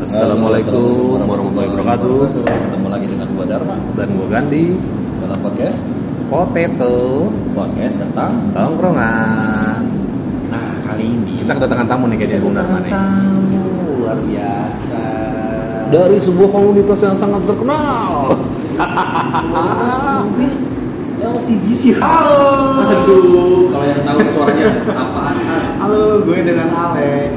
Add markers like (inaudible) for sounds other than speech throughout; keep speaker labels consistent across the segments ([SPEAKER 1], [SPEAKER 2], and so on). [SPEAKER 1] Assalamualaikum warahmatullahi wabarakatuh
[SPEAKER 2] Ketemu lagi dengan gua Dharma
[SPEAKER 1] Dan gue Gandhi
[SPEAKER 2] dalam podcast
[SPEAKER 1] Potato
[SPEAKER 2] podcast tentang
[SPEAKER 1] Tongkrongan
[SPEAKER 2] nah kali ini
[SPEAKER 1] Kita kedatangan tamu nih kayaknya Bung Dharma nih
[SPEAKER 2] tamu luar biasa.
[SPEAKER 1] Dari sebuah komunitas yang sangat terkenal
[SPEAKER 2] Ah, LCGC.
[SPEAKER 1] Halo
[SPEAKER 2] Aduh, kalau yang tahu suaranya apa atas.
[SPEAKER 1] Halo, gue dengan Alex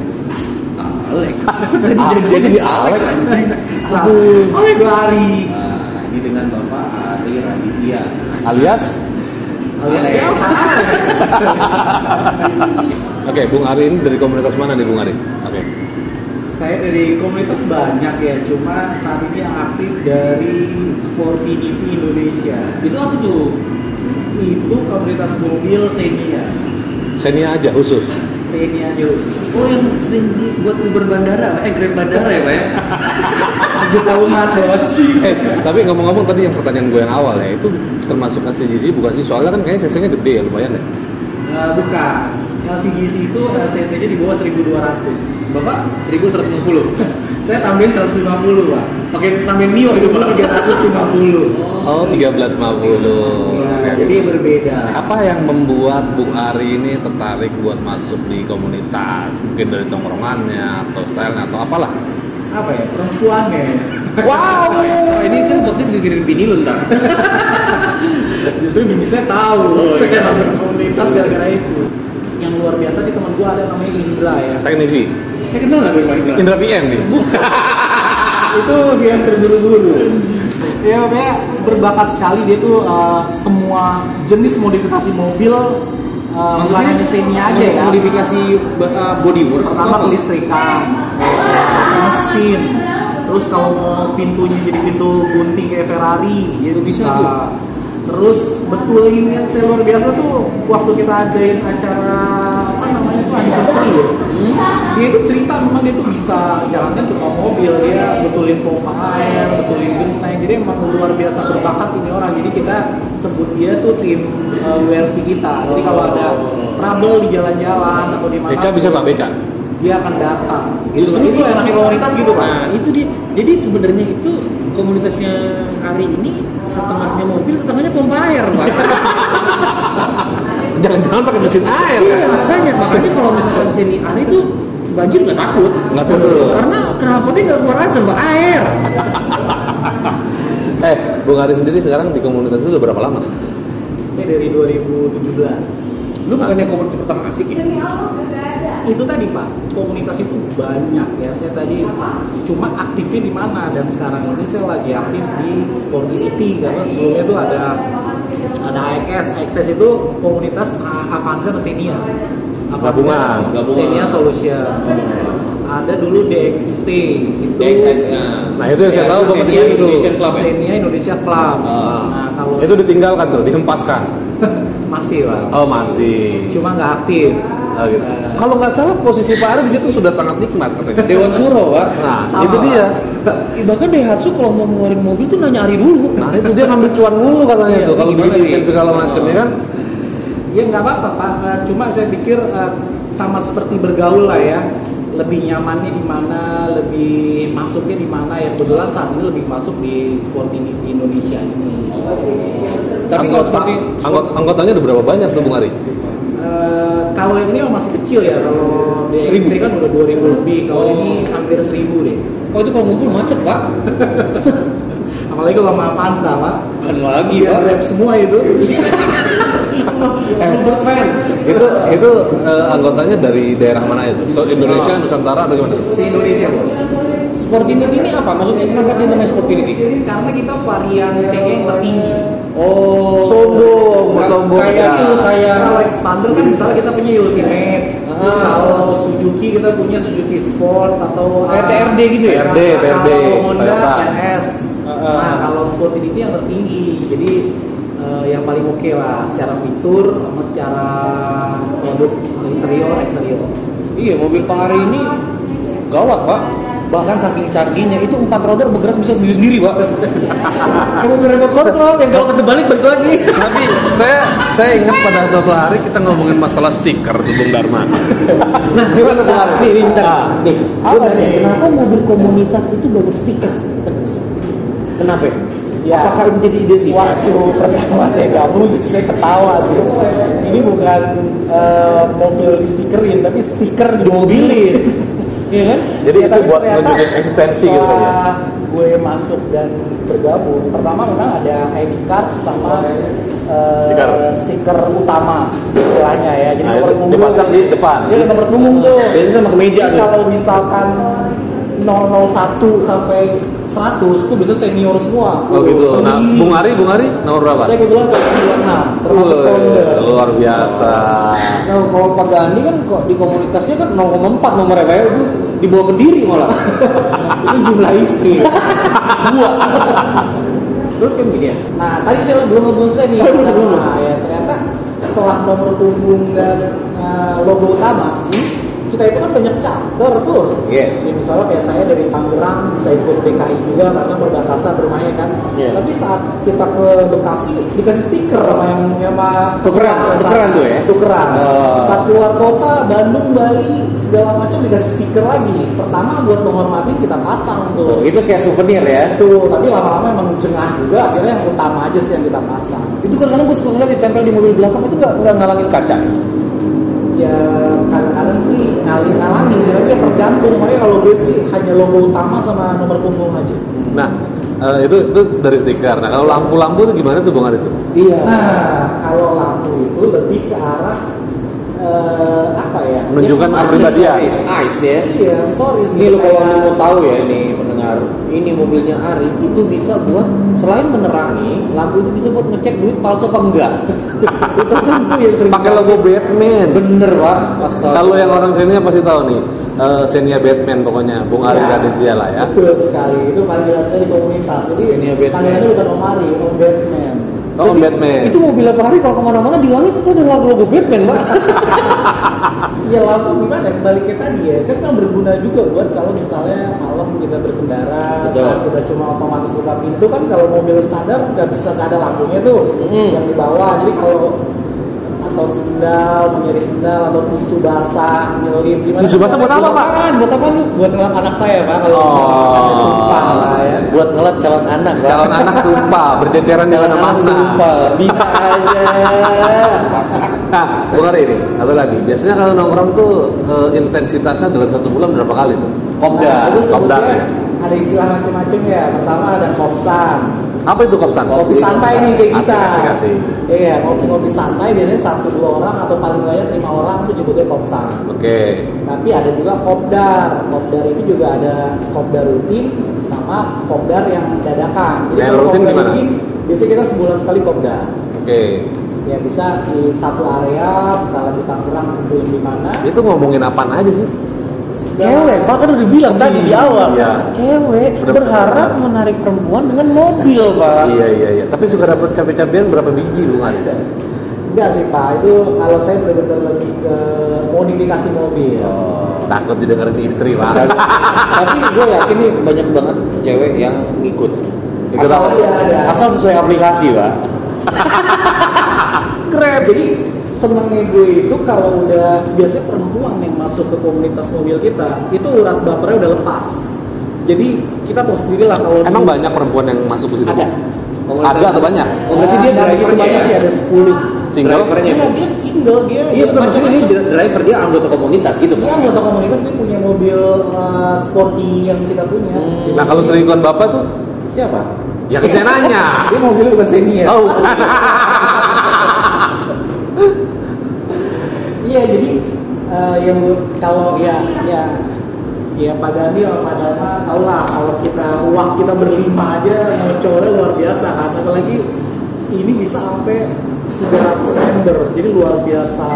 [SPEAKER 2] Alek. Kok Tadi janjian di Alek anjing.
[SPEAKER 1] Aduh Alex gue Ari
[SPEAKER 2] Nah, ini dengan Bapak Ari Raditya.
[SPEAKER 1] Alias
[SPEAKER 2] Alex.
[SPEAKER 1] Oke, Bung Ari ini dari komunitas mana nih Bung Ari? Oke
[SPEAKER 3] Saya dari komunitas banyak ya, cuma saat ini yang aktif dari Sportivity Indonesia.
[SPEAKER 2] Itu apa tuh?
[SPEAKER 3] Itu komunitas mobil Xenia.
[SPEAKER 1] Senia aja khusus
[SPEAKER 3] Xenia jauh.
[SPEAKER 2] Oh yang sering buat Uber bandara, eh Grab bandara ya, Pak ya?
[SPEAKER 3] Tujuh tahunan bos.
[SPEAKER 1] Eh, tapi ngomong-ngomong tadi yang pertanyaan gue yang awal ya itu termasuk CGC bukan sih soalnya kan kayaknya cc gede ya lumayan ya
[SPEAKER 3] Nah, bukan. LCGC itu LCC-nya di bawah 1200.
[SPEAKER 2] Bapak 1150.
[SPEAKER 3] Saya tambahin 150 pak.
[SPEAKER 2] Pakai tambahin Mio itu,
[SPEAKER 3] Itu
[SPEAKER 2] Pak.
[SPEAKER 3] 350.
[SPEAKER 1] oh 1350
[SPEAKER 3] Ya, jadi berbeda.
[SPEAKER 1] apa yang membuat Bung Ari ini tertarik buat masuk di komunitas mungkin dari tongkrongannya atau stylenya atau apalah
[SPEAKER 3] Apa ya? Perempuannya.
[SPEAKER 1] wow
[SPEAKER 2] Oh, ini kan podcast dikirim bini lu ntar.
[SPEAKER 3] Justru bini saya tahu.
[SPEAKER 2] Oh,
[SPEAKER 3] saya
[SPEAKER 2] iya.
[SPEAKER 3] masuk komunitas gara-gara itu. Yang luar biasa di teman gua ada namanya Indra ya.
[SPEAKER 1] teknisi
[SPEAKER 2] Saya kenal nggak dengan Marika?
[SPEAKER 1] Indra PM nih
[SPEAKER 2] Nah.
[SPEAKER 3] itu dia yang terburu-buru ya pokoknya berbakat sekali dia tuh uh, semua jenis modifikasi mobil uh, bukan hanya semi aja ya
[SPEAKER 2] Modifikasi ba- uh, bodywork
[SPEAKER 3] pertama
[SPEAKER 2] atau apa?
[SPEAKER 3] kelistrikan mesin terus kalau mau pintunya jadi pintu gunting kayak Ferrari dia
[SPEAKER 2] Tuh, bisa tuh.
[SPEAKER 3] terus betulin yang saya luar biasa tuh waktu kita adain acara apa namanya tuh anniversary ya
[SPEAKER 2] Hmm?
[SPEAKER 3] dia itu cerita memang dia tuh bisa jalankan tuh mobil dia betulin pompa air betulin genteng jadi emang luar biasa berbakat ini orang jadi kita sebut dia tuh tim uh, WRC kita jadi kalau ada trouble di jalan-jalan atau di mana
[SPEAKER 1] Beca bisa pak Beca
[SPEAKER 3] dia akan datang
[SPEAKER 2] Justru
[SPEAKER 3] Justru itu
[SPEAKER 2] itu-
[SPEAKER 3] enaknya komunitas gitu pak
[SPEAKER 2] Nah, itu dia. Jadi sebenarnya itu komunitasnya Ari ini setengahnya mobil, setengahnya pompa air, Pak.
[SPEAKER 1] jangan-jangan pakai mesin air
[SPEAKER 2] Iya, makanya makanya kalau misalkan sini Ari itu banjir nggak takut.
[SPEAKER 1] Nggak takut.
[SPEAKER 2] Karena knalpotnya nggak keluar asap, Pak, air.
[SPEAKER 1] eh Bung Ari sendiri sekarang di komunitas itu udah berapa lama nih
[SPEAKER 3] saya dari 2017
[SPEAKER 2] Lu bukannya komunitas pertama asik ya?
[SPEAKER 3] itu tadi pak komunitas itu banyak ya saya tadi cuma aktifnya di mana dan sekarang ini saya lagi aktif di sportivity karena sebelumnya itu ada ada AXS AXS itu komunitas uh, Avanza sama Xenia Avanza,
[SPEAKER 1] Gabungan,
[SPEAKER 2] gabungan.
[SPEAKER 3] Xenia Solution ada dulu DXIC itu
[SPEAKER 2] DXIC,
[SPEAKER 3] ah.
[SPEAKER 2] nah.
[SPEAKER 1] nah itu yang saya tahu
[SPEAKER 3] DXIC
[SPEAKER 1] kompetisinya itu
[SPEAKER 2] Indonesian Club ya?
[SPEAKER 3] Xenia Indonesia Club
[SPEAKER 2] Ah.
[SPEAKER 3] nah kalau
[SPEAKER 1] itu ditinggalkan tuh dihempaskan
[SPEAKER 3] masih lah
[SPEAKER 1] oh masih
[SPEAKER 3] cuma nggak aktif
[SPEAKER 1] Oh, gitu. Kalau nggak salah posisi Pak Ari di situ sudah sangat nikmat katanya.
[SPEAKER 2] Dewan Suro, Pak.
[SPEAKER 1] Nah,
[SPEAKER 3] Sama.
[SPEAKER 1] itu dia.
[SPEAKER 2] Bahkan Daihatsu kalau mau ngeluarin mobil tuh nanya Ari dulu.
[SPEAKER 1] Nah, itu dia ngambil cuan dulu katanya
[SPEAKER 2] Iya,
[SPEAKER 1] tuh kalau
[SPEAKER 2] gimana
[SPEAKER 1] begitu
[SPEAKER 2] nih?
[SPEAKER 1] kan segala macam ya kan.
[SPEAKER 3] ya nggak apa-apa pak Eh, cuma saya pikir eh, sama seperti bergaul lah ya lebih nyamannya di mana lebih masuknya di mana ya kebetulan saat ini lebih masuk di Sportivity Indonesia ini
[SPEAKER 2] Tapi kalau seperti
[SPEAKER 1] anggot, anggotanya udah berapa banyak tuh Bung Ari?
[SPEAKER 3] Eh, kalau yang ini emang masih kecil ya kalau di
[SPEAKER 2] Seribu.
[SPEAKER 3] XC kan udah 2000 lebih kalau
[SPEAKER 2] Oh.
[SPEAKER 3] ini hampir 1000 deh
[SPEAKER 2] Oh itu kalau ngumpul macet pak
[SPEAKER 3] apalagi kalau sama Avanza pak
[SPEAKER 2] Kan lagi
[SPEAKER 3] Iya, grab semua itu
[SPEAKER 2] Uber fan
[SPEAKER 1] Itu itu eh, anggotanya dari daerah mana itu? So, Indonesia, Nusantara atau gimana?
[SPEAKER 3] si Indonesia bos
[SPEAKER 2] Sportinity ini apa? Maksudnya kenapa dia namanya Sportinity?
[SPEAKER 3] karena kita varian TG yang tertinggi
[SPEAKER 2] Oh
[SPEAKER 1] Sombong,
[SPEAKER 2] Ka-
[SPEAKER 1] sombong.
[SPEAKER 2] Kayak
[SPEAKER 3] Iya.
[SPEAKER 1] Ya.
[SPEAKER 2] itu, kayak
[SPEAKER 3] kalau expander kan misalnya kita punya Ultimate
[SPEAKER 2] Ah.
[SPEAKER 3] kalau Suzuki kita punya Suzuki Sport atau
[SPEAKER 2] Kayak TRD gitu ya?
[SPEAKER 3] TRD,
[SPEAKER 1] TRD, TRD,
[SPEAKER 3] kalau Honda
[SPEAKER 1] Toyota.
[SPEAKER 3] RS
[SPEAKER 2] Ah, ah.
[SPEAKER 3] nah kalau Sport ini yang tertinggi jadi eh, yang paling oke lah secara fitur sama secara produk interior eksterior
[SPEAKER 2] Iya mobil Pak Ari ini gawat pak bahkan saking canggihnya itu empat roda bergerak bisa sendiri sendiri pak kamu berapa kontrol yang kalau kebalik balik lagi
[SPEAKER 1] Tapi saya saya ingat pada suatu hari kita ngomongin masalah stiker tuh Bung Dharma.
[SPEAKER 2] nah gimana tuh Arif?
[SPEAKER 3] Nih, nih, bentar. Nih,
[SPEAKER 2] apa
[SPEAKER 3] bener
[SPEAKER 2] nih
[SPEAKER 3] nih.
[SPEAKER 2] Ah. kenapa mobil komunitas itu banyak stiker kenapa ya?
[SPEAKER 3] Ya.
[SPEAKER 2] apakah itu jadi identitas
[SPEAKER 3] Waktu pertama saya gabung gitu, saya ketawa sih. Ini bukan eh, mobil di stikerin, tapi stiker di mobilin.
[SPEAKER 2] iya kan
[SPEAKER 4] Jadi
[SPEAKER 3] Ya,
[SPEAKER 4] itu
[SPEAKER 3] tapi
[SPEAKER 4] buat
[SPEAKER 3] ternyata
[SPEAKER 4] nunjukin eksistensi gitu kan ya?
[SPEAKER 3] setelah Gue masuk dan bergabung. Pertama memang ada ID card sama eh,
[SPEAKER 4] Stiker.
[SPEAKER 3] stiker utama istilahnya ya. Jadi
[SPEAKER 4] Nah,
[SPEAKER 3] nomor
[SPEAKER 4] itu
[SPEAKER 3] punggung.
[SPEAKER 4] dipasang di depan.
[SPEAKER 3] Dia ada nomor punggung tuh.
[SPEAKER 2] biasanya sama kemeja
[SPEAKER 3] Jadi
[SPEAKER 2] tuh
[SPEAKER 3] kalau misalkan 001 sampai 100 itu biasanya senior semua.
[SPEAKER 1] Oh gitu. Nah,
[SPEAKER 3] Jadi,
[SPEAKER 1] Bung Ari, Bung Ari nomor berapa?
[SPEAKER 3] Saya kebetulan kelas 26, termasuk
[SPEAKER 1] Wih,
[SPEAKER 3] founder.
[SPEAKER 1] luar biasa.
[SPEAKER 2] Nah, kalau Pak Gandhi kan kok di komunitasnya kan 0,4 nomornya kayak itu di bawah pendiri
[SPEAKER 1] (laughs)
[SPEAKER 2] malah.
[SPEAKER 3] Ini jumlah istri.
[SPEAKER 2] Dua. Terus kan begini ya.
[SPEAKER 3] Nah, tadi saya belum ngebonsai nih. Nah, ya, ternyata setelah nomor punggung dan eh, logo utama, kita itu kan banyak chapter tuh.
[SPEAKER 4] Iya.
[SPEAKER 3] Jadi misalnya kayak saya dari Tangerang bisa ikut DKI juga karena berbatasan rumahnya kan.
[SPEAKER 4] Iya.
[SPEAKER 3] Tapi saat kita ke Bekasi dikasih stiker sama yang sama
[SPEAKER 2] Tukeran,
[SPEAKER 3] sama-
[SPEAKER 2] tukeran tuh ya?
[SPEAKER 3] Tukeran.
[SPEAKER 2] Oh.
[SPEAKER 3] Saat keluar kota, Bandung, Bali segala macam dikasih stiker lagi. Pertama buat menghormati kita pasang
[SPEAKER 2] Tuh, itu kayak souvenir ya.
[SPEAKER 3] Tuh, tapi lama-lama emang jengah juga, akhirnya yang utama aja sih yang kita pasang.
[SPEAKER 2] Itu kadang-kadang gue suka ngeliat ditempel di mobil belakang itu nggak nggak ngalangin kaca.
[SPEAKER 3] Ya kadang-kadang sih ngalih ngalangin, ya, tapi ya tergantung. Makanya kalau gue sih hanya logo utama sama nomor punggung aja.
[SPEAKER 1] Nah, eh, itu itu dari stiker. Nah, kalau lampu-lampu itu gimana tuh Bung Ari tuh?
[SPEAKER 2] Iya.
[SPEAKER 3] Nah, kalau lampu itu lebih ke arah eh, apa ya?
[SPEAKER 1] Menunjukkan
[SPEAKER 3] Ya,
[SPEAKER 1] kepribadian.
[SPEAKER 3] aksesoris.
[SPEAKER 2] ice ya.
[SPEAKER 3] Iya, aksesoris.
[SPEAKER 2] Ini lo kalau
[SPEAKER 3] Kayak-
[SPEAKER 2] lo mau tahu ya ini pendengar, ini mobilnya Ari itu bisa buat selain menerangi lampu itu bisa buat ngecek duit palsu apa enggak. (laughs) itu kan tuh yang sering
[SPEAKER 1] Pakai logo Batman.
[SPEAKER 2] bener pak. Astaga.
[SPEAKER 1] Kalau yang orang senior pasti tahu nih, eh senior Batman pokoknya Bung Ari
[SPEAKER 3] Ya.
[SPEAKER 1] Raditya lah ya.
[SPEAKER 3] Betul sekali, itu panggilan saya di komunitas. Jadi
[SPEAKER 2] Ini ya Batman.
[SPEAKER 3] panggilannya bukan Om Ari, Om Batman.
[SPEAKER 1] Oh,
[SPEAKER 2] Jadi,
[SPEAKER 1] Batman.
[SPEAKER 2] Itu mobil apa hari kalau kemana-mana di langit itu ada logo, logo Batman, Pak.
[SPEAKER 3] Ya lampu gimana? Kembali ke tadi ya, kan memang berguna juga buat kalau misalnya malam kita berkendara,
[SPEAKER 2] Betul.
[SPEAKER 3] saat kita cuma otomatis buka pintu kan kalau mobil standar nggak bisa nggak ada lampunya tuh
[SPEAKER 1] Hmm.
[SPEAKER 2] Mm.
[SPEAKER 3] yang di bawah. Jadi kalau atau sendal, menyeri sendal atau tisu basah, nyelip gimana?
[SPEAKER 1] Tisu basah buat apa, Pak?
[SPEAKER 2] Apaan? Buat apa lu?
[SPEAKER 3] Buat ngelap anak saya pak kalau
[SPEAKER 1] Oh.
[SPEAKER 3] misalnya ada tumpah lah ya.
[SPEAKER 2] Buat ngelap calon anak, Pak.
[SPEAKER 1] Calon anak tumpah, berceceran di
[SPEAKER 2] Calon anak
[SPEAKER 1] mana-mana.
[SPEAKER 2] tumpah.
[SPEAKER 3] Iya.
[SPEAKER 2] Bisa aja.
[SPEAKER 1] Nah, Bung Ari ini, apa lagi? Biasanya kalau nongkrong tuh eh, intensitasnya dalam satu bulan berapa kali tuh?
[SPEAKER 2] Kopda.
[SPEAKER 3] Nah, itu
[SPEAKER 1] kopdar
[SPEAKER 3] sebetulnya
[SPEAKER 1] ya.
[SPEAKER 3] ada istilah macam-macam ya. Pertama ada kopsan,
[SPEAKER 1] Apa itu Ah, kopsan?
[SPEAKER 3] kopi santai nih kayak kita
[SPEAKER 1] Asik, asik, asik.
[SPEAKER 3] iya kopi kopi santai biasanya satu dua orang atau paling banyak lima orang itu nyebutnya kopsar
[SPEAKER 1] Oke.
[SPEAKER 3] tapi ada juga kopdar kopdar ini juga ada kopdar rutin sama kopdar yang dadakan
[SPEAKER 1] Yang
[SPEAKER 3] kalau
[SPEAKER 1] rutin
[SPEAKER 3] kopdar
[SPEAKER 1] gimana?
[SPEAKER 3] biasanya kita sebulan sekali kopdar
[SPEAKER 1] Oke.
[SPEAKER 3] ya bisa di satu area misalnya di Tangerang itu yang di mana
[SPEAKER 1] Itu ngomongin apaan aja sih?
[SPEAKER 2] Cewek, Pak kan udah bilang tadi di awal.
[SPEAKER 1] Iya.
[SPEAKER 2] Cewek
[SPEAKER 1] Bener-bener.
[SPEAKER 2] berharap menarik perempuan dengan mobil, Pak.
[SPEAKER 1] Iya iya iya. Tapi suka dapat cabai-cabian berapa biji Bung Ari?
[SPEAKER 3] enggak sih pak itu kalau saya benar-benar lebih ke modifikasi mobil
[SPEAKER 1] Oh. Takut didengerin istri
[SPEAKER 2] Dan-
[SPEAKER 1] pak.
[SPEAKER 2] Tapi gue yakin nih banyak banget cewek yang ngikut.
[SPEAKER 1] Ikut
[SPEAKER 3] Asal
[SPEAKER 1] apa?
[SPEAKER 3] dia ada.
[SPEAKER 2] Asal sesuai aplikasi, Pak.
[SPEAKER 3] Keren. Jadi senengnya gue itu kalau udah biasanya perempuan yang masuk ke komunitas mobil kita itu urat bapernya udah lepas. Jadi kita tahu sendiri lah kalau
[SPEAKER 1] Emang banyak perempuan yang masuk ke situ?
[SPEAKER 3] Ada.
[SPEAKER 1] Ada atau banyak?
[SPEAKER 2] Oh, berarti dia
[SPEAKER 3] dari itu
[SPEAKER 2] drivernya
[SPEAKER 3] banyak
[SPEAKER 2] ya?
[SPEAKER 3] sih ada 10
[SPEAKER 1] Single?
[SPEAKER 2] Drivernya.
[SPEAKER 3] Enggak, dia single dia.
[SPEAKER 2] Iya,
[SPEAKER 3] dia
[SPEAKER 2] bukan maksudnya ini
[SPEAKER 3] macam-macam.
[SPEAKER 2] dri- driver dia anggota komunitas gitu
[SPEAKER 3] Dia
[SPEAKER 2] kan?
[SPEAKER 3] anggota komunitas dia punya mobil eh, sporty yang kita punya.
[SPEAKER 2] Hmm.
[SPEAKER 3] Jadi-
[SPEAKER 1] Nah kalau selingkuhan bapak tuh,
[SPEAKER 3] siapa?
[SPEAKER 1] ya ke saya nanya.
[SPEAKER 3] Dia mobilnya bukan senior.
[SPEAKER 1] Oh, (laughs)
[SPEAKER 3] Iya jadi eh, yang kalau ya ya ya Pak Gandhi sama Pak Dharma tau lah kalau kita uang kita berlima aja ngocornya luar biasa kan apalagi ini bisa sampai 300 member jadi luar biasa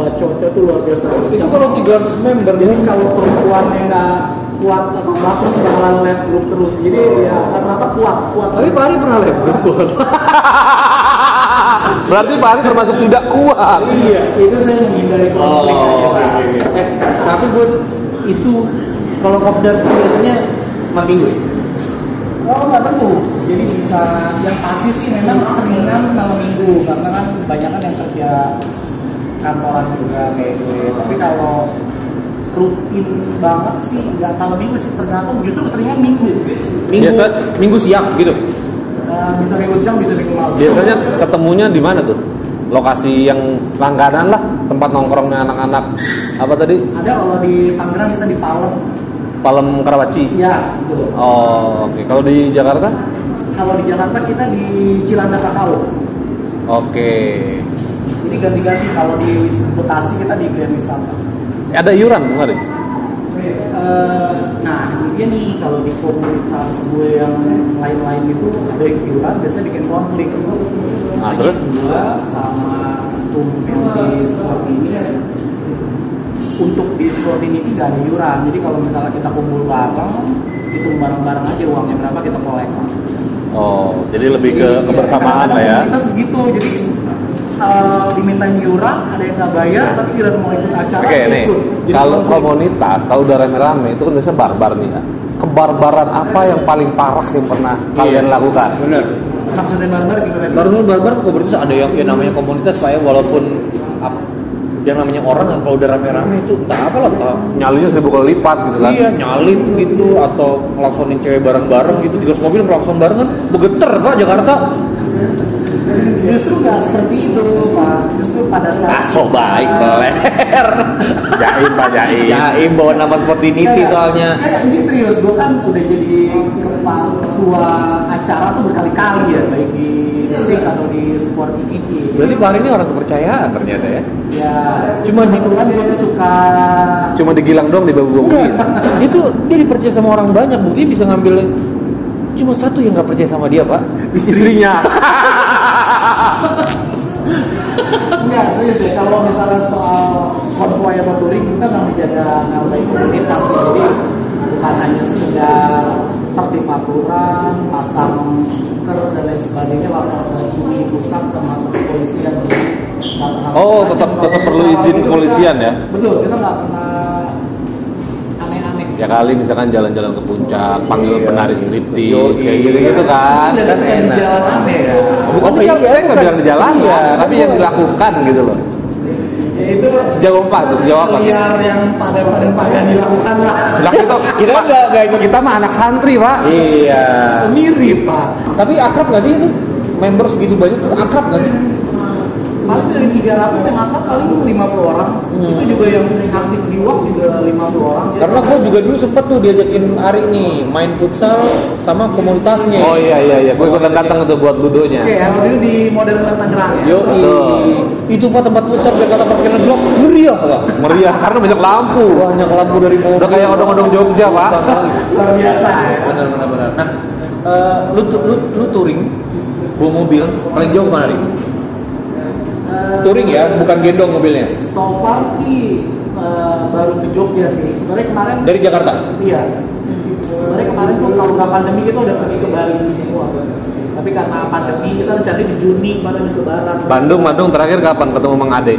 [SPEAKER 3] bacotnya tuh luar biasa kencang.
[SPEAKER 2] 300 member
[SPEAKER 3] jadi kalau perempuannya nggak kuat atau baper bakalan left group terus jadi ya rata-rata kuat kuat
[SPEAKER 2] Tapi Pak Ari pernah live grup
[SPEAKER 1] berarti Pak Ari termasuk tidak kuat.
[SPEAKER 3] gitu. iya itu saya menghindari konflik aja Pak.
[SPEAKER 2] Eh, tapi gue itu kalau kopdar tuh biasanya mati gue.
[SPEAKER 3] Oh nggak tentu, jadi bisa yang pasti sih memang seringan malam minggu karena kan kebanyakan yang kerja kantoran juga kayak gue. Tapi kalau rutin banget sih nggak malam minggu sih tergantung justru seringan minggu.
[SPEAKER 2] Minggu
[SPEAKER 1] Biasa minggu siang gitu.
[SPEAKER 3] Nah, bisa minggu siang bisa minggu malam.
[SPEAKER 1] Biasanya ketemunya di mana tuh? Lokasi yang langganan lah, tempat nongkrongnya anak-anak. Apa tadi?
[SPEAKER 3] ada kalau di Tangerang kita di Palem.
[SPEAKER 1] Palem Karawaci.
[SPEAKER 3] Iya betul.
[SPEAKER 1] Oh, oke. Kalau di Jakarta?
[SPEAKER 3] Kalau di Jakarta kita di Cilandak Kakao.
[SPEAKER 1] Oke.
[SPEAKER 3] Jadi ganti-ganti kalau di Bekasi kita di Grand Wisata.
[SPEAKER 1] Ada iuran kemarin?
[SPEAKER 3] Eh, nah ini dia nih kalau di komunitas gue yang lain-lain itu ada yang iuran biasanya bikin konflik
[SPEAKER 1] Ah, terus?
[SPEAKER 3] gue sama tumpen di sport ini untuk di sport ini tidak ada iuran jadi kalau misalnya kita kumpul bareng itu bareng-bareng aja uangnya berapa kita kolek
[SPEAKER 1] Oh, jadi lebih ke
[SPEAKER 3] Jadi,
[SPEAKER 1] kebersamaan lah ya.
[SPEAKER 3] kadang-kadang komunitas begitu jadi eh, diminta iuran ada yang nggak bayar tapi tidak mau ikut acara
[SPEAKER 1] Iya. Oke nih,
[SPEAKER 3] ikut Jadi
[SPEAKER 1] kalau
[SPEAKER 3] konflik.
[SPEAKER 1] komunitas, kalau udah rame-rame itu kan biasanya barbar nih ya. Kebarbaran apa yang paling parah yang pernah
[SPEAKER 2] Iya.
[SPEAKER 1] kalian lakukan?
[SPEAKER 2] Bener.
[SPEAKER 3] maksudnya gitu, barbar gimana
[SPEAKER 2] Baru barbar komunitas ada yang, yang namanya komunitas pak ya walaupun ap- yang namanya orang kalau udah rame-rame itu entah apa lah entah
[SPEAKER 1] Nyalinya seribu kali lipat gitu kan?
[SPEAKER 2] Iya, nyalip gitu atau ngelaksonin cewek bareng-bareng gitu. Tiga mobil ngelakson bareng kan begeter, Pak, Jakarta.
[SPEAKER 3] Justru nggak seperti itu, Pak. Justru pada
[SPEAKER 1] Ah,
[SPEAKER 3] saat eh,
[SPEAKER 2] so baik, beler.
[SPEAKER 1] Jaim pak jaim.
[SPEAKER 2] Jaim bawa Ya, nama seperti ini
[SPEAKER 3] Nggak, nggak.
[SPEAKER 2] soalnya.
[SPEAKER 3] Nggak, nggak, ini serius, gue kan udah jadi kepa- ketua acara tuh berkali-kali ya, baik di Desik atau di Sport ini.
[SPEAKER 2] Iya.
[SPEAKER 3] gitu.
[SPEAKER 2] Berarti Pak Hari ini orang kepercayaan ternyata ya.
[SPEAKER 3] ya,
[SPEAKER 2] Cuma di-
[SPEAKER 3] kebetulan gue tuh suka
[SPEAKER 1] Cuma digilang doang di bagu
[SPEAKER 2] Enggak, itu dia dipercaya sama orang banyak, buktinya bisa ngambil cuma satu yang nggak percaya sama dia, Pak.
[SPEAKER 1] Istrinya.
[SPEAKER 3] Enggak, serius ya, kalau misalnya soal konvoy atau touring, kita nggak menjaga nama baik komunitas sih. Jadi bukan hanya sekedar tertib aturan, pasang stiker dan lain sebagainya, lapor ke ini pusat sama kepolisian. Nggak pernah
[SPEAKER 1] Oh,
[SPEAKER 3] macam-macam.
[SPEAKER 1] tetap tetap
[SPEAKER 3] Kalau
[SPEAKER 1] perlu
[SPEAKER 3] kita
[SPEAKER 1] izin
[SPEAKER 3] kita-
[SPEAKER 1] kepolisian ya?
[SPEAKER 3] Betul, kita nggak pernah aneh-aneh.
[SPEAKER 1] Ya kali misalkan jalan-jalan ke puncak, panggil
[SPEAKER 2] Iya.
[SPEAKER 1] penari striptease,
[SPEAKER 2] Yoi.
[SPEAKER 1] kayak gitu-gitu kan.
[SPEAKER 3] Ini
[SPEAKER 1] Kan
[SPEAKER 3] kan yang di
[SPEAKER 1] enak.
[SPEAKER 3] jalan aneh ya.
[SPEAKER 1] Bukan
[SPEAKER 2] Oh,
[SPEAKER 1] di jalan,
[SPEAKER 2] iya,
[SPEAKER 1] saya nggak
[SPEAKER 2] bukan.
[SPEAKER 1] bilang di jalan ya,
[SPEAKER 2] Iya,
[SPEAKER 1] tapi yang
[SPEAKER 2] betul.
[SPEAKER 1] dilakukan gitu loh.
[SPEAKER 3] Ya itu
[SPEAKER 1] Sejauh apa tuh? Sejauh apa?
[SPEAKER 3] liar yang pada pada pada dilakukan lah.
[SPEAKER 1] Lah kita kita kan nggak nggak ikut kita mah anak santri pak.
[SPEAKER 2] Iya.
[SPEAKER 3] Mirip, Pak.
[SPEAKER 2] Tapi akrab nggak sih itu? Member segitu banyak tuh akrab nggak sih?
[SPEAKER 3] Paling dari 300 yang aktif paling 50 orang.
[SPEAKER 2] Hmm.
[SPEAKER 3] Itu juga yang sering aktif di WAP juga 50 orang. Jadi
[SPEAKER 2] Karena gue juga dulu sempet tuh diajakin Ari nih main futsal sama komunitasnya.
[SPEAKER 1] Oh iya iya iya, gue ikutan datang tuh buat ludonya.
[SPEAKER 3] Oke, yang waktu itu di modern Tangerang ya.
[SPEAKER 2] Yo,
[SPEAKER 1] Betul.
[SPEAKER 2] itu pak tempat futsal biar kata parkiran blok meriah pak.
[SPEAKER 1] Meriah karena banyak lampu.
[SPEAKER 2] Banyak lampu dari mobil.
[SPEAKER 1] Udah kayak odong-odong Jogja, Pak.
[SPEAKER 3] Luar biasa ya.
[SPEAKER 2] Benar benar benar. Nah, eh, lu, tu- lu, lu touring bawa mobil paling jauh kemana nih? (laughs) Touring ya, bukan gendong mobilnya.
[SPEAKER 3] Eh, So far sih eh, baru ke Jogja sih. Sebenarnya kemarin
[SPEAKER 2] Dari Jakarta.
[SPEAKER 3] iya. Sebenarnya kemarin tuh kalau nggak pandemi kita udah pergi ke Bali semua. Tapi karena pandemi kita rencananya di Juni kemarin habis lebaran.
[SPEAKER 1] Bandung, Bandung terakhir kapan ketemu Mang Ade?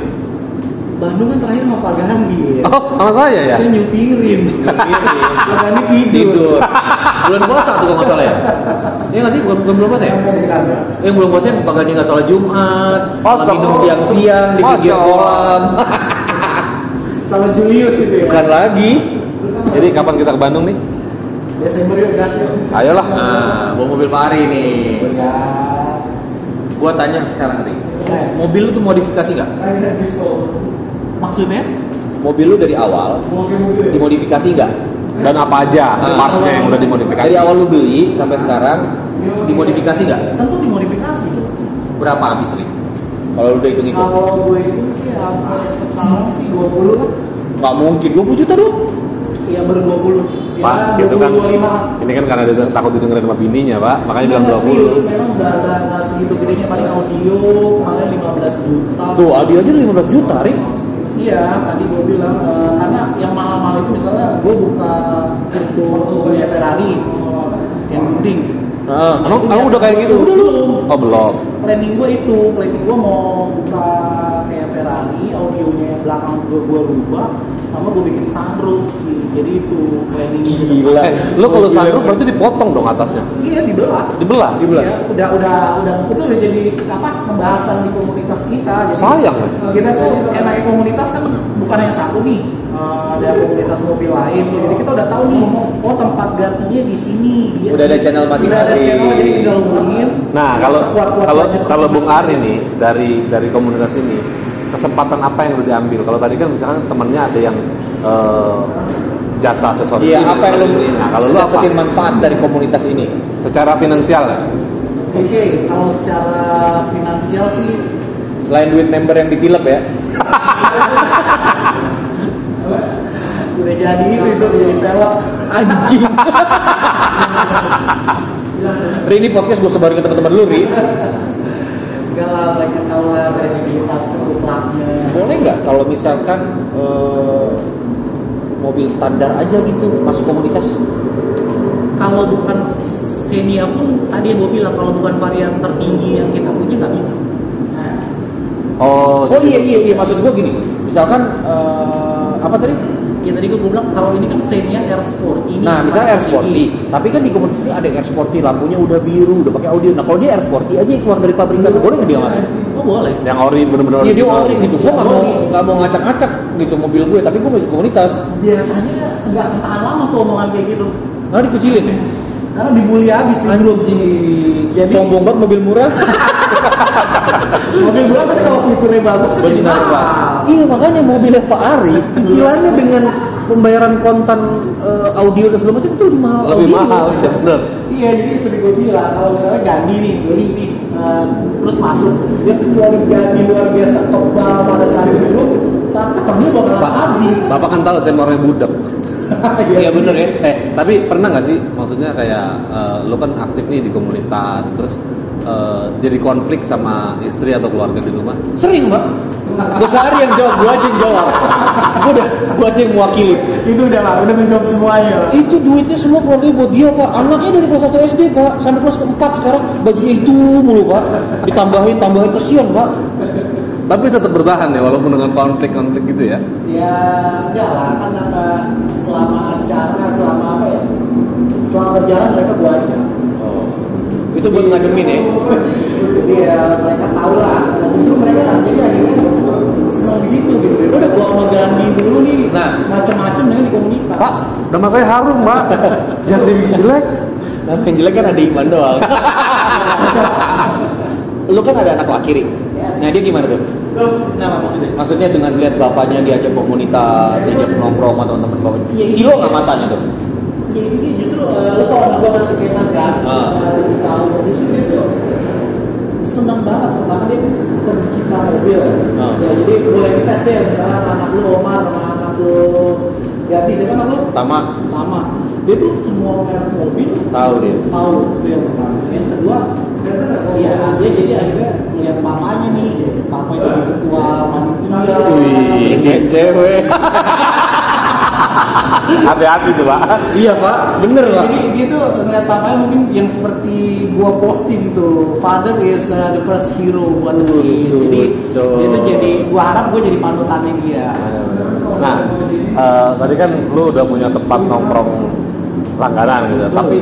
[SPEAKER 3] Bandung kan terakhir sama Pak Gandhi ya.
[SPEAKER 1] Oh, sama saya ya.
[SPEAKER 3] Saya nyupirin. Pak Gandhi
[SPEAKER 2] iya.
[SPEAKER 3] tidur.
[SPEAKER 2] Tidur. bulan puasa tuh kalau nggak salah ya. Iya nggak sih, bukan, bukan bulan puasa ya?
[SPEAKER 3] Bukan, Pak.
[SPEAKER 2] Yang bulan puasa yang Pak Gandhi nggak sholat Jumat, malah
[SPEAKER 1] Masya
[SPEAKER 2] minum
[SPEAKER 1] Allah.
[SPEAKER 2] siang-siang di pinggir
[SPEAKER 1] Masya Allah.
[SPEAKER 2] kolam.
[SPEAKER 3] sama Julius itu ya
[SPEAKER 2] Bukan lagi.
[SPEAKER 1] Jadi kapan kita ke Bandung nih?
[SPEAKER 3] Desember ya gas ya
[SPEAKER 1] Ayolah.
[SPEAKER 2] Nah, bawa mobil Pak Ari nih. Gua tanya sekarang nih. Mobil lu tuh modifikasi nggak?
[SPEAKER 3] kan maksudnya
[SPEAKER 2] Mobil lu dari awal dimodifikasi nggak?
[SPEAKER 1] Dan apa aja
[SPEAKER 2] Ah.
[SPEAKER 1] partnya yang udah dimodifikasi?
[SPEAKER 2] Dari awal lu beli sampai sekarang dimodifikasi nggak?
[SPEAKER 3] tentu dimodifikasi loh
[SPEAKER 2] Berapa habis nih? Kalau lu udah hitung hitung,
[SPEAKER 3] kalau gue itu sih apa yang sekarang sih 20 kan
[SPEAKER 2] nggak mungkin 20 juta dong.
[SPEAKER 3] ya baru 20 sih ya
[SPEAKER 1] Pak,
[SPEAKER 3] 20
[SPEAKER 1] gitu kan.
[SPEAKER 3] 25 lah
[SPEAKER 1] Ini kan karena dia takut didengerin sama bininya, Pak. Makanya bilang
[SPEAKER 3] Nggak, Iya, serius,
[SPEAKER 1] 20.
[SPEAKER 3] memang nggak nggak nggak segitu gedenya paling audio kemarin 15 juta
[SPEAKER 2] Tuh, Adi aja 15 juta, Ri.
[SPEAKER 3] Iya, tadi gue bilang eh, karena yang mahal-mahal itu misalnya gue buka pintu punya Ferrari yang gunting.
[SPEAKER 2] Nah,
[SPEAKER 1] Emang kamu udah kayak gitu?
[SPEAKER 3] Iya, Udah, belum.
[SPEAKER 1] Oh, belum.
[SPEAKER 3] planning gue itu planning gue mau buka kayak Ferrari audionya yang belakang gue gue rubah sama gue bikin sunroof sih jadi itu planning
[SPEAKER 2] Gila.
[SPEAKER 1] Eh, lo kalau sunroof berarti dipotong dong atasnya.
[SPEAKER 3] iya dibelah
[SPEAKER 1] Dibelah.
[SPEAKER 3] Iya, udah udah udah itu udah jadi apa pembahasan di komunitas kita jadi
[SPEAKER 1] Sayang.
[SPEAKER 3] kita tuh enaknya komunitas kan bukan hanya satu nih Eh, ada komunitas mobil lain tuh. jadi kita udah tahu nih oh tempat gantinya di sini Dia-
[SPEAKER 2] Udah ada channel
[SPEAKER 3] udah ada
[SPEAKER 2] masing-masing.
[SPEAKER 3] channel jadi tinggal hubungin
[SPEAKER 1] Nah,
[SPEAKER 3] Ya,
[SPEAKER 1] kalau
[SPEAKER 3] sekuat-kuat
[SPEAKER 1] kalau
[SPEAKER 3] budget
[SPEAKER 1] kalau Bung
[SPEAKER 3] masing-masing.
[SPEAKER 1] Ari nih dari dari komunitas ini kesempatan apa yang udah diambil? Kalau tadi kan misalkan temennya ada yang eh, jasa aksesoris.
[SPEAKER 2] Iya,
[SPEAKER 1] ini,
[SPEAKER 2] apa yang lu
[SPEAKER 1] Nah, kalau lu apa?
[SPEAKER 2] dapetin manfaat dari komunitas ini?
[SPEAKER 1] Secara finansial ya?
[SPEAKER 3] oke kalau secara finansial sih
[SPEAKER 2] Selain duit member yang dipilep ya.
[SPEAKER 3] udah jadi itu itu udah jadi pelek
[SPEAKER 2] Anjing. (laughs) Ri ini podcast gue sebarin ke teman-teman lu, Ri.
[SPEAKER 3] enggak lah mereka tahu lah kredibilitas keruplaknya
[SPEAKER 2] Boleh nggak kalau misalkan eh, mobil standar aja gitu masuk komunitas?
[SPEAKER 3] kalau bukan Xenia pun tadi yang gue bilang kalau bukan varian tertinggi yang kita punya nggak bisa
[SPEAKER 1] Oh,
[SPEAKER 2] Oh iya iya iya maksud gue gini. Misalkan eh, apa tadi?
[SPEAKER 3] ya tadi gue bilang kalau ini kan Xenia Air Sport ini
[SPEAKER 2] Nah, misalnya Air
[SPEAKER 3] tertinggi.
[SPEAKER 2] Sporty, tapi kan di komunitas ini ada yang Air Sporty, lampunya udah biru, udah pakai audio. Nah, kalau dia Air Sporty aja yang keluar dari pabrikan, boleh nggak dia masuk?
[SPEAKER 3] oh boleh
[SPEAKER 1] Yang ori bener-bener
[SPEAKER 2] Iya dia
[SPEAKER 1] original.
[SPEAKER 2] ori gitu, gue nggak mau
[SPEAKER 3] Ori.
[SPEAKER 2] nggak mau ngacak-ngacak gitu mobil gue, tapi gue mau ikut komunitas.
[SPEAKER 3] biasanya nggak ketahan lama tuh omongan kayak gitu
[SPEAKER 2] Nah dikucilin ya?
[SPEAKER 3] karena dibully habis di grup
[SPEAKER 2] Anjing,
[SPEAKER 3] Jadi-
[SPEAKER 2] sombong banget mobil murah.
[SPEAKER 3] mobil gue tapi kalau fiturnya bagus kan jadi
[SPEAKER 1] Bener,
[SPEAKER 3] mahal
[SPEAKER 1] Pak.
[SPEAKER 2] (laughs) iya makanya mobilnya Pak Ari, cicilannya dengan pembayaran kontan eh, audio dan segala macam itu lebih mahal.
[SPEAKER 1] lebih
[SPEAKER 2] audio.
[SPEAKER 1] mahal (laughs) ya bener.
[SPEAKER 3] Iya, jadi seperti gue bilang, kalau misalnya Gandhi nih, beli nih, eh, terus masuk, dia kecuali Gandhi luar biasa tebal pada saat dulu, saat ketemu bakalan
[SPEAKER 1] Pak,
[SPEAKER 3] habis. (laughs)
[SPEAKER 1] Bapak kan tahu saya orangnya budak. Iya
[SPEAKER 3] sih.
[SPEAKER 1] bener ya. Eh tapi pernah nggak sih maksudnya kayak eh, lo kan aktif nih di komunitas terus eh, jadi konflik sama istri atau keluarga di rumah?
[SPEAKER 2] Sering mbak. Gue sehari yang jawab, gue aja yang jawab. Gue udah, gue aja yang mewakili.
[SPEAKER 3] Itu udah lah, udah menjawab semuanya lah.
[SPEAKER 2] itu duitnya semua keluarga buat dia pak anaknya dari kelas 1 SD pak sampai kelas keempat sekarang bajunya itu mulu pak ditambahin tambahin kesian pak
[SPEAKER 1] Tapi tetap bertahan ya walaupun dengan konflik-konflik gitu ya.
[SPEAKER 3] Ya, enggak lah, kan karena selama acara, selama apa ya, selama berjalan mereka gua aja.
[SPEAKER 1] Oh.
[SPEAKER 2] itu buat ngademin
[SPEAKER 3] (laughs)
[SPEAKER 2] ya
[SPEAKER 3] Jadi ya mereka tahu lah, nah, justru mereka lah, jadi akhirnya senang di situ gitu. Dia udah gua sama Gandhi dulu nih,
[SPEAKER 2] Nah.
[SPEAKER 3] macem-macem dengan di komunitas.
[SPEAKER 1] Pak, nama saya harum, Pak. (laughs) Yang dibikin jelek.
[SPEAKER 2] nah yang jelek kan ada Iqbal
[SPEAKER 3] (laughs)
[SPEAKER 2] doang lu kan ada anak laki Ri. nah dia gimana tuh
[SPEAKER 3] Kenapa maksudnya?
[SPEAKER 2] maksudnya dengan lihat bapaknya diajak komunitas diajak nongkrong sama teman-teman bapaknya
[SPEAKER 3] Iya,
[SPEAKER 2] silo
[SPEAKER 3] iya.
[SPEAKER 2] nggak matanya tuh
[SPEAKER 3] Ya ini justru eh, lo tau anak gue kan sekitar kan,
[SPEAKER 2] Ah.
[SPEAKER 3] tujuh tahun. Justru dia tuh seneng banget pertama dia pencinta mobil.
[SPEAKER 2] Ah.
[SPEAKER 3] Ya jadi boleh dites deh misalnya sama anak lu Omar sama anak lu Gadi, siapa anak lu?
[SPEAKER 2] pertama
[SPEAKER 3] Sama. Dia tuh semua merek mobil
[SPEAKER 2] tahu dia
[SPEAKER 3] tahu itu yang pertama. Yang kedua, ya dia jadi akhirnya melihat papanya nih, papa itu jadi ketua panitia.
[SPEAKER 1] (laughs) cewek. Hati-hati tuh, Pak.
[SPEAKER 2] iya pak bener
[SPEAKER 3] Ya, Jadi dia tuh ngeliat papanya mungkin yang seperti gua posting tuh Father is uh, the first hero buat gue
[SPEAKER 2] Lucu,
[SPEAKER 3] Jadi
[SPEAKER 2] lucu.
[SPEAKER 3] itu jadi gua harap gua jadi panutannya dia
[SPEAKER 1] Nah, eh, tadi kan lu udah punya tempat nongkrong langganan gitu, tapi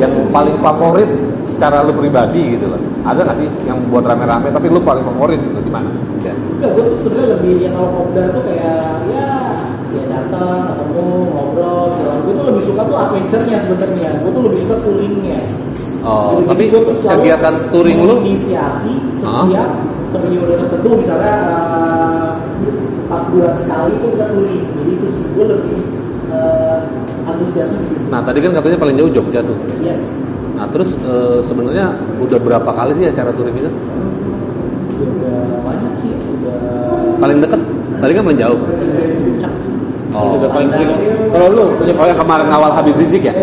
[SPEAKER 1] yang paling favorit secara lu pribadi gitu loh. Ada nggak sih yang buat rame-rame tapi lu paling favorit gitu di mana?
[SPEAKER 3] Enggak, gua tuh sebenernya lebih yang kalau kopdar tuh kayak ya ya datang, ketemu, ngobrol, segala Gua tuh lebih suka tuh adventure-nya sebenernya Gua tuh lebih suka touring-nya
[SPEAKER 1] Oh,
[SPEAKER 3] Jadi
[SPEAKER 1] tapi
[SPEAKER 3] gua tuh selalu
[SPEAKER 1] kegiatan touring lu
[SPEAKER 3] menginisiasi
[SPEAKER 1] Hah?
[SPEAKER 3] setiap periode tertentu misalnya eh, empat bulan sekali itu kita touring jadi itu sih gue lebih eh, antusiasme di situ
[SPEAKER 1] Nah, tadi kan katanya paling jauh Jogja tuh.
[SPEAKER 3] yes
[SPEAKER 1] Nah, terus eh, sebenarnya udah berapa kali sih acara touring itu?
[SPEAKER 3] udah banyak sih udah
[SPEAKER 1] Paling deket? Tadi kan paling jauh.
[SPEAKER 3] puncak sih
[SPEAKER 1] Oh.
[SPEAKER 2] juga paling sering kalau lu punya
[SPEAKER 1] Oh, yang kemarin awal Habib Rizik ya?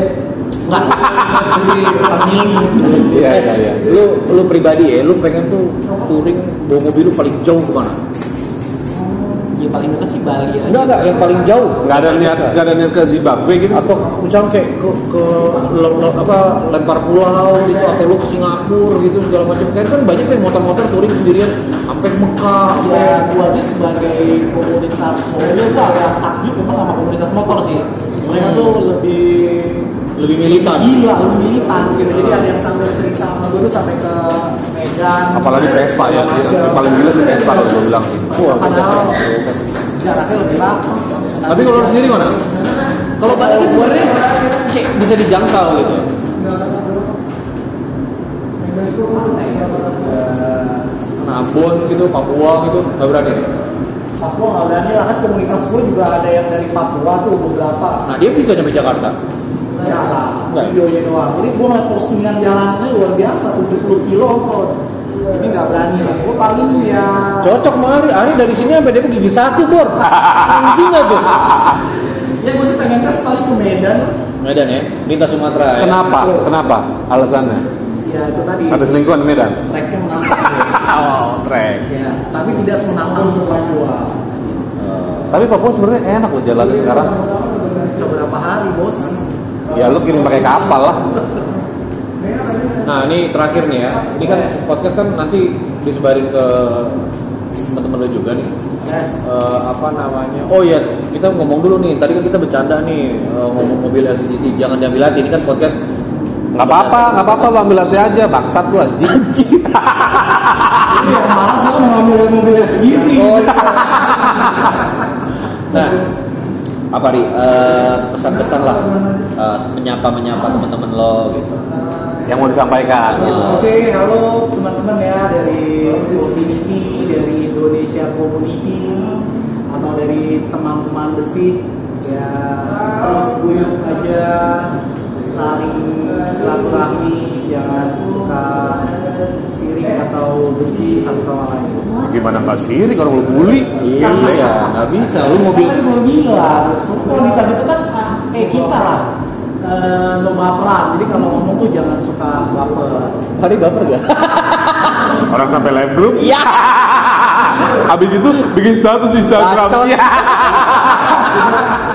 [SPEAKER 3] nggak (laughs) masih family
[SPEAKER 1] Iya, iya, iya.
[SPEAKER 2] lu lu pribadi ya lu pengen tuh touring bawa mobil lu paling jauh kemana
[SPEAKER 3] ya paling dekat sih Bali aja
[SPEAKER 2] enggak enggak yang paling jauh
[SPEAKER 1] Nggak ada niat, nggak ada niat ke Zimbabwe gitu?
[SPEAKER 2] atau misalnya kayak ke, ke lo- lo- apa lempar pulau gitu atau lu ke gitu. Singapura gitu segala macam kan kan banyak yang motor-motor touring sendirian sampai
[SPEAKER 1] sampai Mekah sampai
[SPEAKER 3] Ya, gua aja sebagai komunitas mobil gua agak takjub memang sama komunitas motor sih. Mereka tuh lebih
[SPEAKER 2] lebih militan
[SPEAKER 3] gila, lebih militan gitu. Jadi ada yang sampai cerita sama gua tuh sampai ke Medan.
[SPEAKER 1] apalagi Vespa ya
[SPEAKER 3] segala macam.
[SPEAKER 1] yang paling gila sih Vespa kalau gue bilang sih
[SPEAKER 3] Padahal jaraknya lebih lama.
[SPEAKER 1] tapi kalau lu sendiri mana
[SPEAKER 2] kalau balik kan sebenarnya kayak bisa dijangkau gitu
[SPEAKER 3] Iya, eh,
[SPEAKER 1] Ambon gitu Papua gitu nggak berani nih
[SPEAKER 3] Papua nggak berani lah kan komunitas gua juga ada yang dari Papua tuh beberapa
[SPEAKER 2] nah dia bisa nyampe Jakarta
[SPEAKER 3] jalan
[SPEAKER 2] Nggak.
[SPEAKER 3] videonya doang. Jadi gua ngeliat postingan jalannya luar biasa 70 kilo off-road. Jadi nggak berani lah. Gua paling ya
[SPEAKER 2] cocok sama Ari Ari dari sini sampai dia gigi satu bor anjing nggak tuh
[SPEAKER 3] ya gue sih pengen tes paling ke Medan
[SPEAKER 2] Medan ya lintas Sumatera ya
[SPEAKER 1] kenapa kenapa alasannya
[SPEAKER 3] ya itu tadi
[SPEAKER 1] ada selingkuhan di Medan
[SPEAKER 3] treknya menantang
[SPEAKER 1] oh trek
[SPEAKER 3] ya tapi tidak semenantang ke Papua
[SPEAKER 1] tapi Papua sebenarnya enak loh jalannya sekarang
[SPEAKER 3] bisa berapa hari bos
[SPEAKER 1] ya lu kirim pakai kapal lah
[SPEAKER 2] Nah ini terakhir nih ya, ini kan podcast kan nanti disebarin ke teman-teman lo juga nih.
[SPEAKER 3] Eh,
[SPEAKER 2] Eh, apa namanya? Oh iya, kita ngomong dulu nih. Tadi kan kita bercanda nih eh, ngomong mobil LCGC. Jangan diambil hati. Ini kan podcast.
[SPEAKER 1] nggak apa-apa nggak apa-apa lu ambil hati aja bangsat lu anjing
[SPEAKER 3] itu yang malas lo ngambil mobil segisi
[SPEAKER 2] Oh, iya. nah, apa ri? Eh, pesan-pesan lah, eh, menyapa-menyapa teman-teman lo gitu.
[SPEAKER 1] yang mau disampaikan gitu
[SPEAKER 3] Oke, halo teman-teman ya dari Sportivity, dari Indonesia Community, atau dari teman-teman Besik ya terus guyup aja saling silaturahmi jangan suka sirik atau benci satu sama lain.
[SPEAKER 1] (laughs) gimana nggak sirik kalau lu bully
[SPEAKER 2] Iya, nggak bisa. Lu
[SPEAKER 3] Kan
[SPEAKER 2] mobil
[SPEAKER 3] tadi gue bilang, komunitas itu kan ah, kayak kita lah, eh, lomba perang. Jadi kalau ngomong tuh jangan suka baper.
[SPEAKER 2] Hari baper gak?
[SPEAKER 1] orang sampai leblum Iya.
[SPEAKER 2] Iya.
[SPEAKER 1] habis itu bikin status di Instagram
[SPEAKER 2] Bacot.